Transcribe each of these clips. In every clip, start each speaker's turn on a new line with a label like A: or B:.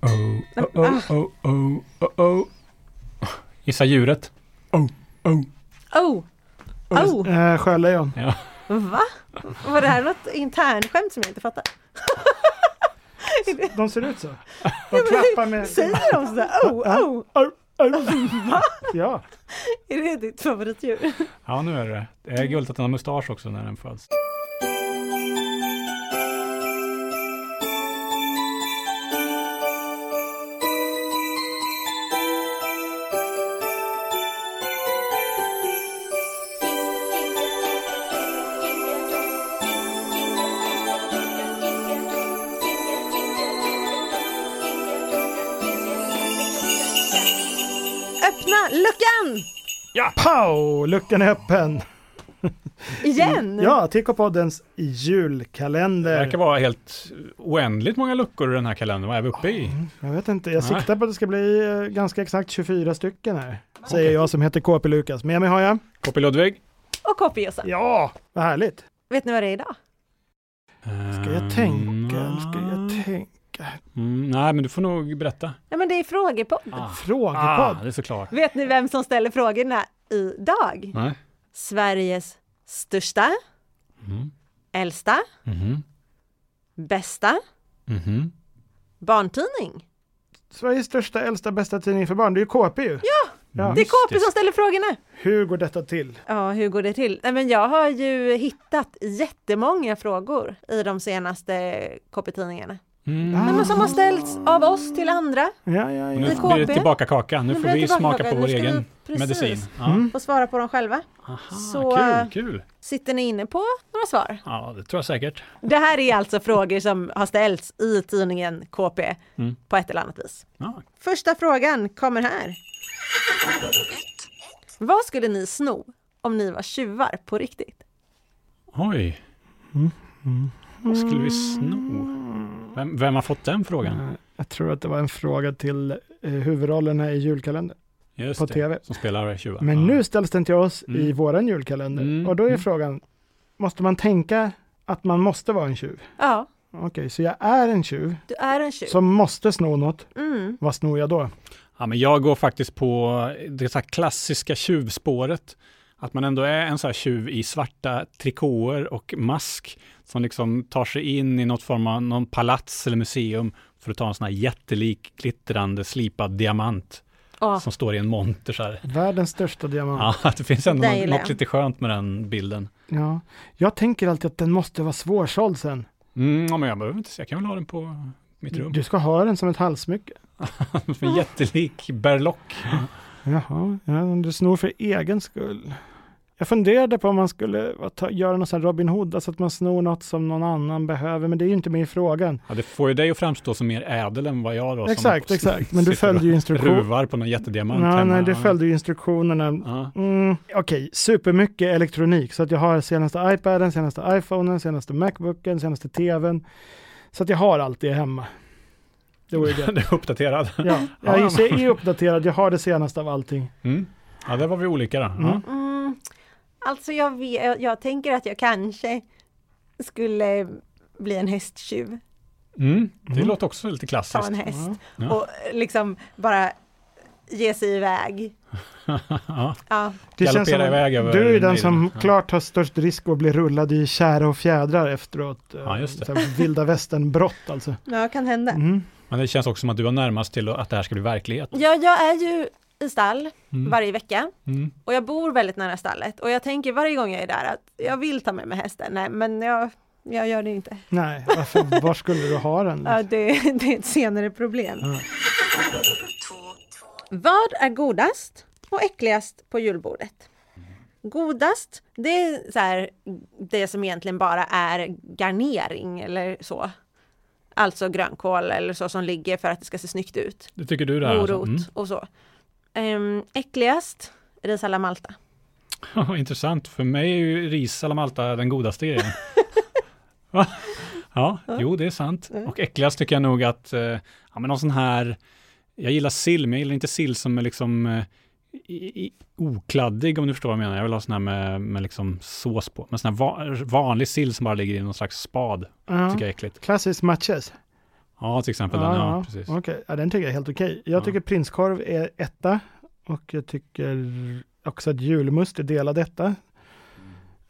A: oh, oh, oh,
B: ah.
A: oh, oh, oh, oh. Gissa djuret. Oh, oh.
B: Oh! Oh!
C: Eh, sjölejon.
A: Ja.
B: Va? Var det här något internskämt som jag inte fattar?
C: De ser ut så. De klappar med... Äh?
B: Säger de sådär? Oh, oh!
C: Au, au. Ja.
B: Är det ditt favoritdjur?
A: ja, nu är det det. Det är gulligt att den har mustasch också när den föds.
B: Öppna luckan!
C: Pow! Luckan är öppen.
B: Igen!
C: Ja, TK-poddens
A: Det
C: julkalender.
A: verkar vara helt oändligt många luckor i den här kalendern. Vad är vi uppe i?
C: Mm. Jag vet inte, jag
A: Nej.
C: siktar på att det ska bli eh, ganska exakt 24 stycken här. Säger jag som heter KP Lukas. Med mig har jag...
A: KP Ludvig?
B: Och kopiösa.
C: Ja, vad härligt.
B: Vet ni vad det är idag?
C: Ska jag tänka? Ska jag tänka?
A: Eh, Mm, nej, men du får nog berätta.
B: Nej men det är frågepodd.
A: Ah,
C: Frågepodd.
A: det är såklart.
B: Vet ni vem som ställer frågorna idag?
A: Nej.
B: Sveriges största,
A: Mm.
B: äldsta,
A: Mhm.
B: bästa
A: Mhm.
B: barntidning.
C: Sveriges största, äldsta, bästa tidning för barn. Det är ju KP ju. Ja,
B: Det är KP som ställer frågorna.
C: Hur går detta till?
B: Ja, hur går det till? Nej, men jag har ju hittat jättemånga frågor i de senaste KP-tidningarna.
A: Mm.
C: Ah.
B: Nej, men som har ställts av oss till andra.
C: Ja, ja,
A: Och
C: ja.
A: Nu
B: I
A: blir det
B: KP.
A: tillbaka kaka. Nu
B: Nu
A: får
B: blir det
A: vi
B: tillbaka
A: smaka
B: kaka.
A: på
B: Nu
A: vår
B: ska
A: egen
B: vi- precis.
A: medicin. Ja.
C: Mm.
B: Får svara på dem själva.
A: Aha,
B: Så,
A: kul,
B: äh,
A: kul.
B: Sitter ni inne på några svar?
A: Ja, det tror jag säkert.
B: Det här är alltså frågor som har ställts i tidningen KP
A: Mm.
B: på ett eller annat vis.
A: Ja.
B: Första frågan kommer här. Vad skulle ni sno om ni var tjuvar på riktigt?
A: Oj. Vad skulle vi sno? Vem, vem har fått den frågan?
C: Eh, Jag tror att det var en fråga till eh, huvudrollerna i julkalendern
A: Just
C: på
A: det,
C: tv.
A: som spelar tjuvar.
C: Men
A: Ja.
C: nu ställs den till oss i
A: Mm.
C: våran julkalender.
A: Mm,
C: Och då är
A: mm.
C: frågan, måste man tänka att man måste vara en tjuv?
B: Ja,
C: Okej, så jag är en tjuv
B: du är en tjuv.
C: som måste sno något.
B: Mm.
C: Vad snor jag då?
A: Ja, men jag går faktiskt på det så här klassiska tjuvspåret. Att man ändå är en så här tjuv i svarta trikåer och mask som liksom tar sig in i något form av någon palats eller museum för att ta en sån här jättelik glittrande slipad diamant
B: Ja.
A: som står i en monter så här.
C: Världens största diamant. Ja.
A: Ja, det finns ändå
B: Där
A: något,
B: gillar
A: något
B: jag.
A: lite skönt med den bilden.
C: Jag tänker alltid att den måste vara svårsåld sen.
A: Mm, ja, men jag behöver inte se, jag kan väl ha den på mitt rum.
C: Du ska ha den som ett halsmycke.
A: Som en jättelik berlock.
C: Jaha, ja, men du snor för egen skull. Jag funderade på om man skulle vad, ta, göra någon sån här Robin Hood, alltså att man snor något som någon annan behöver, men det är ju inte med i frågan.
A: Ja, det får ju dig att framstå som mer ädel än vad jag då. som
C: exakt, exakt. Men
A: sitter
C: du
A: och
C: följde ju instruktionerna.
A: Ruvar på någon jättediamant
C: Nej,
A: hemma.
C: nej, du
A: Ja.
C: följde ju instruktionerna.
A: Ja.
C: Mm, Okej, supermycket elektronik. Så att jag har senaste iPaden, senaste iPhonen, senaste Macbooken, senaste TVn. Så att jag har allt det hemma. Det vore gött.
A: Du är uppdaterad.
C: Ja,
A: Ja,
C: jag är,
A: ja.
C: så jag är uppdaterad, jag har det senaste av allting.
A: Mm. Ja, där var vi olika då. Ja.
C: Mm.
B: Mm. Alltså jag, vet, jag, jag tänker att jag kanske skulle bli en hästtjuv,
A: Mm. Det
C: Mm.
A: låter också lite
B: ta en
A: klassiskt.
B: häst
A: Ja.
B: och liksom bara ge sig iväg.
A: ja.
B: Ja,
C: Det
A: Galoppera
C: känns som,
A: iväg över
C: du är ju den
A: nejden.
C: som
A: Ja.
C: klart har störst risk att bli rullad i kära och fjädrar efteråt. eh,
A: Ja, just det.
C: så här vilda västern-brott alltså.
B: ja kan hända.
C: Mm.
A: Men det känns också som att du var närmast till att det här ska bli verklighet.
B: Ja, jag är ju i stall
A: Mm.
B: varje vecka
A: Mm.
B: och jag bor väldigt nära stallet och jag tänker varje gång jag är där att jag vill ta med mig hästen, nej men jag, jag gör det inte.
C: Nej, varför, var skulle du ha den?
B: Ja, det, det är ett senare problem.
C: Ja.
B: Vad är godast och äckligast på julbordet? Godast, det är så här, det som egentligen bara är garnering eller så. Alltså grönkål eller så som ligger för att det ska se snyggt ut.
A: Det tycker du det här? alltså?
C: mm.
B: Morot och så. Um, äckligast, ris alla Malta.
A: Mm. Intressant. För mig är ju ris alla Malta den godaste grejen. Va? Ja, jo det är sant. Och äckligast tycker jag nog att, eh, ja men någon sån här, jag gillar sill, men jag gillar inte sill som är liksom eh, i, i, okladdig om du förstår vad jag menar. Jag vill ha sån här med, med liksom sås på. Men sån här va, vanlig sill som bara ligger i någon slags spad,
C: Ja.
A: tycker jag är äckligt.
C: Klassisk matches.
A: Ja, till exempel den. Ja, precis.
C: Okej, ja, den tycker jag är helt okej. Jag
A: Ja.
C: tycker prinskorv är etta och jag tycker också att julmust är delad etta.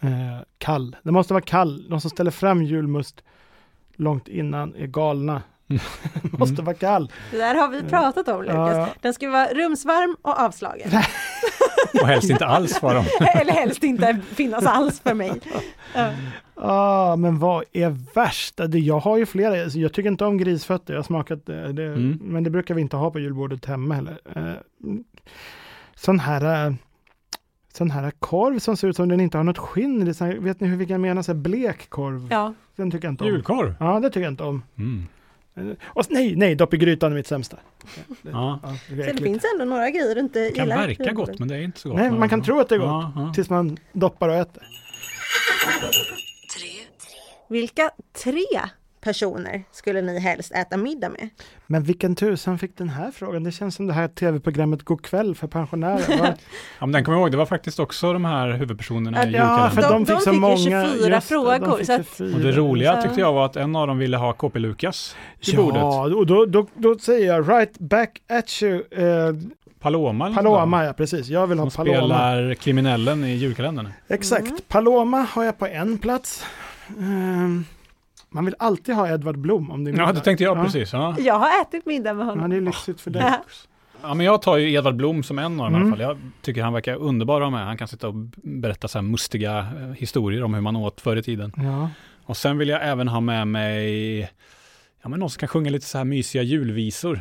C: Eh, kall. Det måste vara kall. De som ställer fram julmust långt innan är galna. måste
A: Mm.
C: vara kall.
B: Det där har vi pratat om Lukas.
C: Ja, ja.
B: Den ska vara rumsvarm och avslagen.
A: Och helst inte alls var de.
B: Eller helst inte finnas alls för mig. Ja.
C: Ah, men vad är värst? Det- Jag har ju flera. Alltså, Jag tycker inte om grisfötter. Jag har smakat det. det
A: Mm.
C: Men det brukar vi inte ha på julbordet hemma heller. Eh, mm. sån här eh, Sån här korv som ser ut som den inte har något skinn. i. Det är sån här, vet ni hur vilka jag menar? Så här blek korv.
B: Ja.
C: Den tycker jag inte om.
A: Julkorv.
C: Ja, det tycker jag inte om.
A: Mm.
C: Eh, Och, nej, nej, dopp i grytan är mitt sämsta.
A: Ja.
C: Ja, det är
B: Så det
C: äckligt.
B: finns ändå några grejer du inte
A: Det kan
B: gillar.
A: verka gott men det är inte så gott.
C: nej, man kan tro att det är gott
A: Ja, ja.
C: tills man doppar och äter.
B: Vilka tre personer skulle ni helst äta middag med?
C: Men vilken tusan fick den här frågan? Det känns som det här tv-programmet God kväll för pensionärer. Vad-
A: Ja, men den kommer jag ihåg, det var faktiskt också de här huvudpersonerna i
C: Ja,
A: julkalendern.
C: för de,
B: De-
C: fick
B: de
C: så
B: fick ju
C: många.
B: 24
C: just det, de
B: frågor,
C: fick
B: så att-
C: 24.
A: Och det roliga
B: Ja.
A: tyckte jag var att en av dem ville ha KP Lukas i bordet.
C: Ja, och då, då, då säger jag right back at you. Eh,
A: Paloma. eller något sånt
C: Paloma, ja precis. Jag vill
A: där,
C: ha
A: Som
C: Paloma.
A: spelar kriminellen i julkalendern.
C: Exakt. Paloma har jag på en plats. Ehm, man vill alltid ha Edvard Blom om det är
A: Ja, det
C: middag.
A: tänkte jag
C: Ja.
A: precis. Ja.
B: Jag har ätit middag med
C: Ja,
B: honom.
C: det är lyxigt för dig.
B: Ja.
A: Ja, men jag tar ju Edvard Blom som en av dem
C: Mm.
A: i alla fall. Jag tycker han verkar underbar att ha med. Han kan sitta och b- berätta så här mustiga eh, historier om hur man åt förr i tiden.
C: Ja.
A: Och sen vill jag även ha med mig ja, men någon som kan sjunga lite så här mysiga julvisor.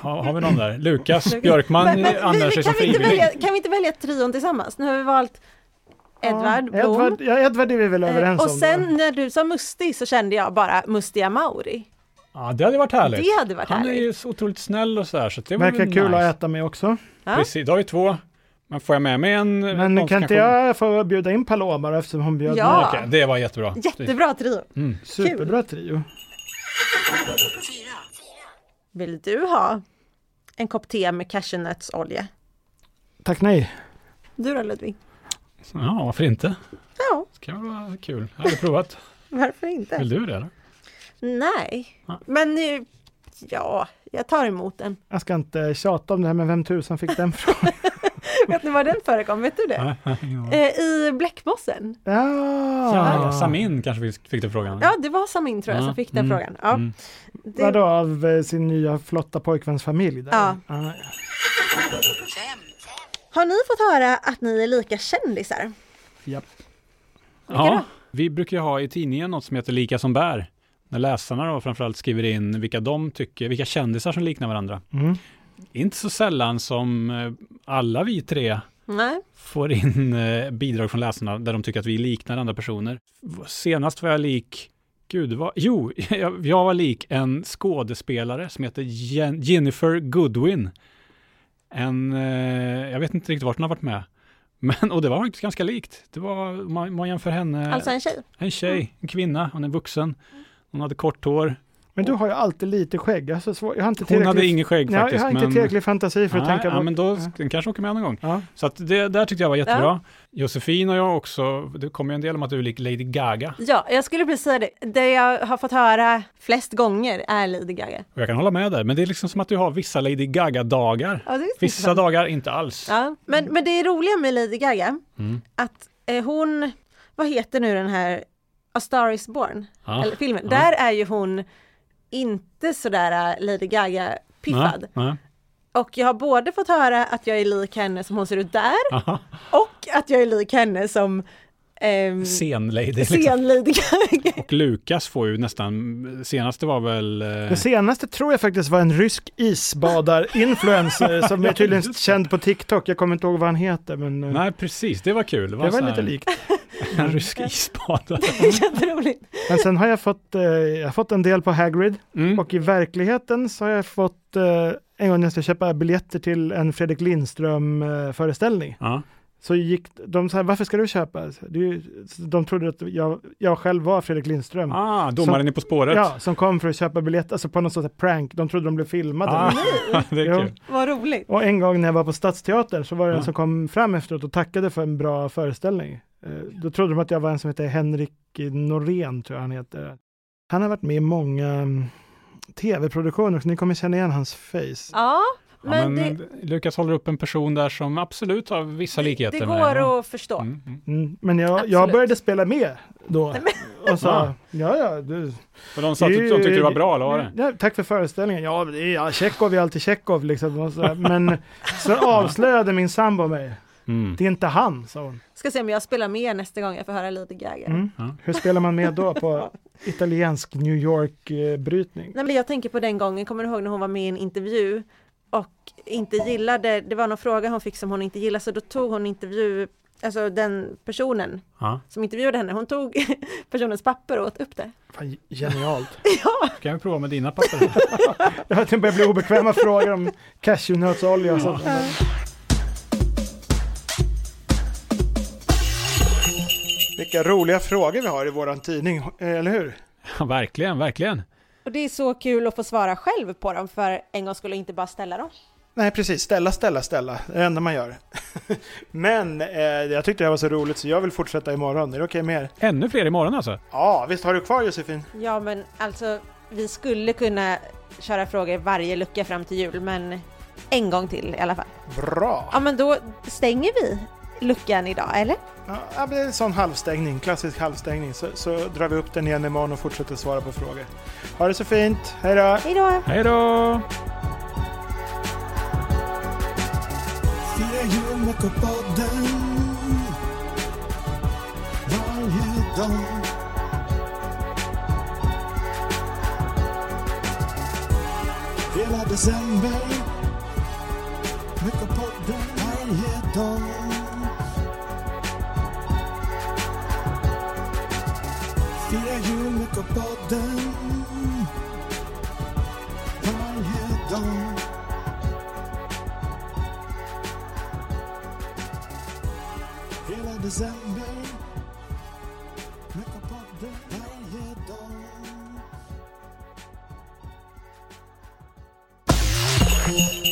A: Ha, har vi någon där? Lukas
B: Lukas.
A: Björkman
B: Men- men vi-
A: anmäler sig
B: kan,
A: som
B: vi inte
A: frivillig.
B: välja, kan vi inte välja trion tillsammans? Nu har vi valt Edvard
C: ja,
B: Blom.
C: Edvard, ja, Edvard är vi väl överens
B: Eh, och
C: om.
B: sen när du sa Musti så kände jag bara Mustiga Mauri.
A: Ja, det hade varit härligt.
B: Det hade varit
A: han är
B: härligt.
A: ju så otroligt snäll och så här, så det vore
C: Verkar
A: väl
C: kul
A: nice.
C: att äta med också.
B: Ja.
A: Precis, då har vi två. Men får jag med mig en? eh, någon
C: Men
A: som
C: kan inte
A: sjunga?
C: jag få bjuda in Paloma då, eftersom hon bjöd
B: Ja.
C: mig?
A: Okej, det var jättebra.
B: Jättebra trio.
C: Superbra trio.
B: Vill du ha en kopp te med cashewnötsolja?
C: Tack nej.
B: Du då Ludvig?
A: Ja, varför inte?
B: Ja,
A: Det kan vara kul. Jag har provat.
B: varför inte?
A: Vill du det? Eller?
B: Nej,
A: Nej.
B: men nu, ja, jag tar emot den.
C: Jag ska inte tjata om det här, men vem tusan fick den frågan?
B: Vet ni var den förekom? Vet du det? Eh, I Bläckmossen.
C: Ja,
A: Ja, Samin kanske vi fick den frågan.
B: Ja, det var Samin tror jag som
A: Ja,
B: fick den
A: mm,
B: frågan. Ja,
A: mm.
B: det,
C: Vadå, av eh, sin nya flotta pojkväns familj? Där.
B: Ja.
C: Ah,
B: Har ni fått höra att ni är lika kändisar?
C: japp.
A: Ja, vi brukar ju ha i tidningen något som heter Lika som bär. När läsarna då framförallt skriver in vilka de tycker, vilka kändisar som liknar varandra.
C: Mm.
A: Inte så sällan som eh, alla vi tre
B: Nej.
A: får in eh, bidrag från läsarna där de tycker att vi liknar andra personer. V- Senast var jag lik, gud vad, jo, jag, jag var lik en skådespelare som heter Jen, Jennifer Goodwin. En, eh, jag vet inte riktigt vart hon har varit med. Men, och det var faktiskt ganska likt. Det var, man, man jämför henne,
B: Alltså en tjej.
A: en tjej, en kvinna, hon är vuxen. Hon hade kort hår.
C: Men du har ju alltid lite skägg. Jag har, så svår, jag har inte
A: Hon
C: tillräcklig,
A: hade inget skägg
C: ja, jag
A: faktiskt.
C: har inte
A: men,
C: tillräcklig fantasi för att
A: Nej,
C: tänka
A: ja,
C: bort-
A: men då
C: Ja.
A: den kanske åker med någon gång.
C: Ja.
A: Så att det där tyckte jag var jättebra. Josefin och jag också, det kommer ju en del om att du är lik Lady Gaga.
B: Ja, jag skulle precis säga det. Det jag har fått höra flest gånger är Lady Gaga.
A: Och jag kan hålla med där, men det är liksom som att du har vissa Lady Gaga-dagar.
B: Ja, det är
A: Vissa dagar inte alls.
B: Ja, men, men det är roliga med Lady Gaga,
A: Mm.
B: att eh, hon, vad heter nu den här A Star Is Born,
A: Ah, Ja.
B: eller filmen, där är ju hon inte sådär eh, Lady Gaga-piffad.
A: Nej, nej.
B: Och jag har både fått höra att jag är lik henne som hon ser ut där,
A: Aha.
B: och att jag är lik henne som ehm,
A: Sen-lady. Liksom.
B: sen-Lady Gaga.
A: Och Lukas får ju nästan, senaste var väl... eh,
C: Det senaste tror jag faktiskt var en rysk isbadar-influencer som är tydligen känd på TikTok. Jag kommer inte ihåg vad han heter, men eh,
A: Nej, precis, det var kul. Det var,
C: det var
A: en sån
C: lite
A: här-
C: likt.
A: En rysk isbadare.
B: Jätteroligt.
C: Men sen har jag fått, eh, jag har fått en del på Hagrid
A: Mm.
C: och i verkligheten så har jag fått eh, en gång när jag ska köpa biljetter till en Fredrik Lindström-föreställning.
A: Ja.
C: Så gick de så här, varför ska du köpa? Så Det är ju, så de trodde att jag, jag själv var Fredrik Lindström.
A: Ah, domaren är På spåret.
C: Ja, som kom för att köpa biljetter, alltså på något sorts prank. De trodde de blev filmade.
A: ah, det är
C: Jo.
A: kul.
B: Vad roligt.
C: Och en gång när jag var på Stadsteatern så var det en
A: Ja.
C: som kom fram efteråt och tackade för en bra föreställning. Eh, Då trodde de att jag var en som heter Henrik Norén, tror jag han heter. Han har varit med i många mm, tv-produktion också, ni kommer känna igen hans face.
B: Ja,
A: Ja,
B: men,
A: men
B: det,
A: Lukas håller upp en person där som absolut har vissa likheter
B: det
A: med honom.
B: går att förstå.
A: Mm, mm.
C: Mm, men jag, jag
B: Absolut.
C: började spela med då. Och sa,
A: Ja.
C: ja ja, du.
A: Och de sa att de tyckte det var bra, eller vad var det?
C: Ja, tack för föreställningen. Ja, men det är- ja, Tjechov är alltid Tjechov liksom. Och så, men så avslöjade min sambo mig.
A: Mm.
C: Det är inte han, sa hon.
B: Ska se om jag spelar med nästa gång jag får höra Lady Gaga.
C: Mm.
A: Ja.
C: Hur spelar man med då på italiensk New York-brytning?
B: Nej, men jag tänker på den gången, kommer du ihåg när hon var med i en intervju och inte gillade, det var någon fråga hon fick som hon inte gillade, så då tog hon intervju, alltså den personen
A: Ja.
B: som intervjuade henne, hon tog personens papper och åt upp det.
C: Fan, genialt.
B: Ja,
A: Kan vi prova med dina papper?
C: Ja, Det börjar bli obekväma frågor om cashewnötsolja och sånt. Vilka roliga frågor vi har i våran tidning, eh, eller hur?
A: ja, verkligen, verkligen.
B: och det är så kul att få svara själv på dem för en gång skulle inte bara ställa dem.
C: Nej, precis. Ställa, ställa, ställa. Det är det enda man gör. Men eh, jag tyckte det här var så roligt så jag vill fortsätta imorgon. Är det okej med er?
A: Ännu fler imorgon alltså?
C: Ja, visst har du kvar Josefin?
B: Ja, men alltså vi skulle kunna köra frågor varje lucka fram till jul, men en gång till i alla fall.
C: Bra!
B: Ja, men då stänger vi luckan idag, eller?
C: Ja, ja, men det är en sån halvstängning, klassisk halvstängning. Så, så drar vi upp den igen imorgon och fortsätter svara på frågor. Ha det så fint, hej då!
B: Hej då!
A: Hej då!
D: Fler julveckopodden varje dag. Hela december veckopodden varje dag. Fira julveckopodden varje dag. Hela december Veckopodden varje dag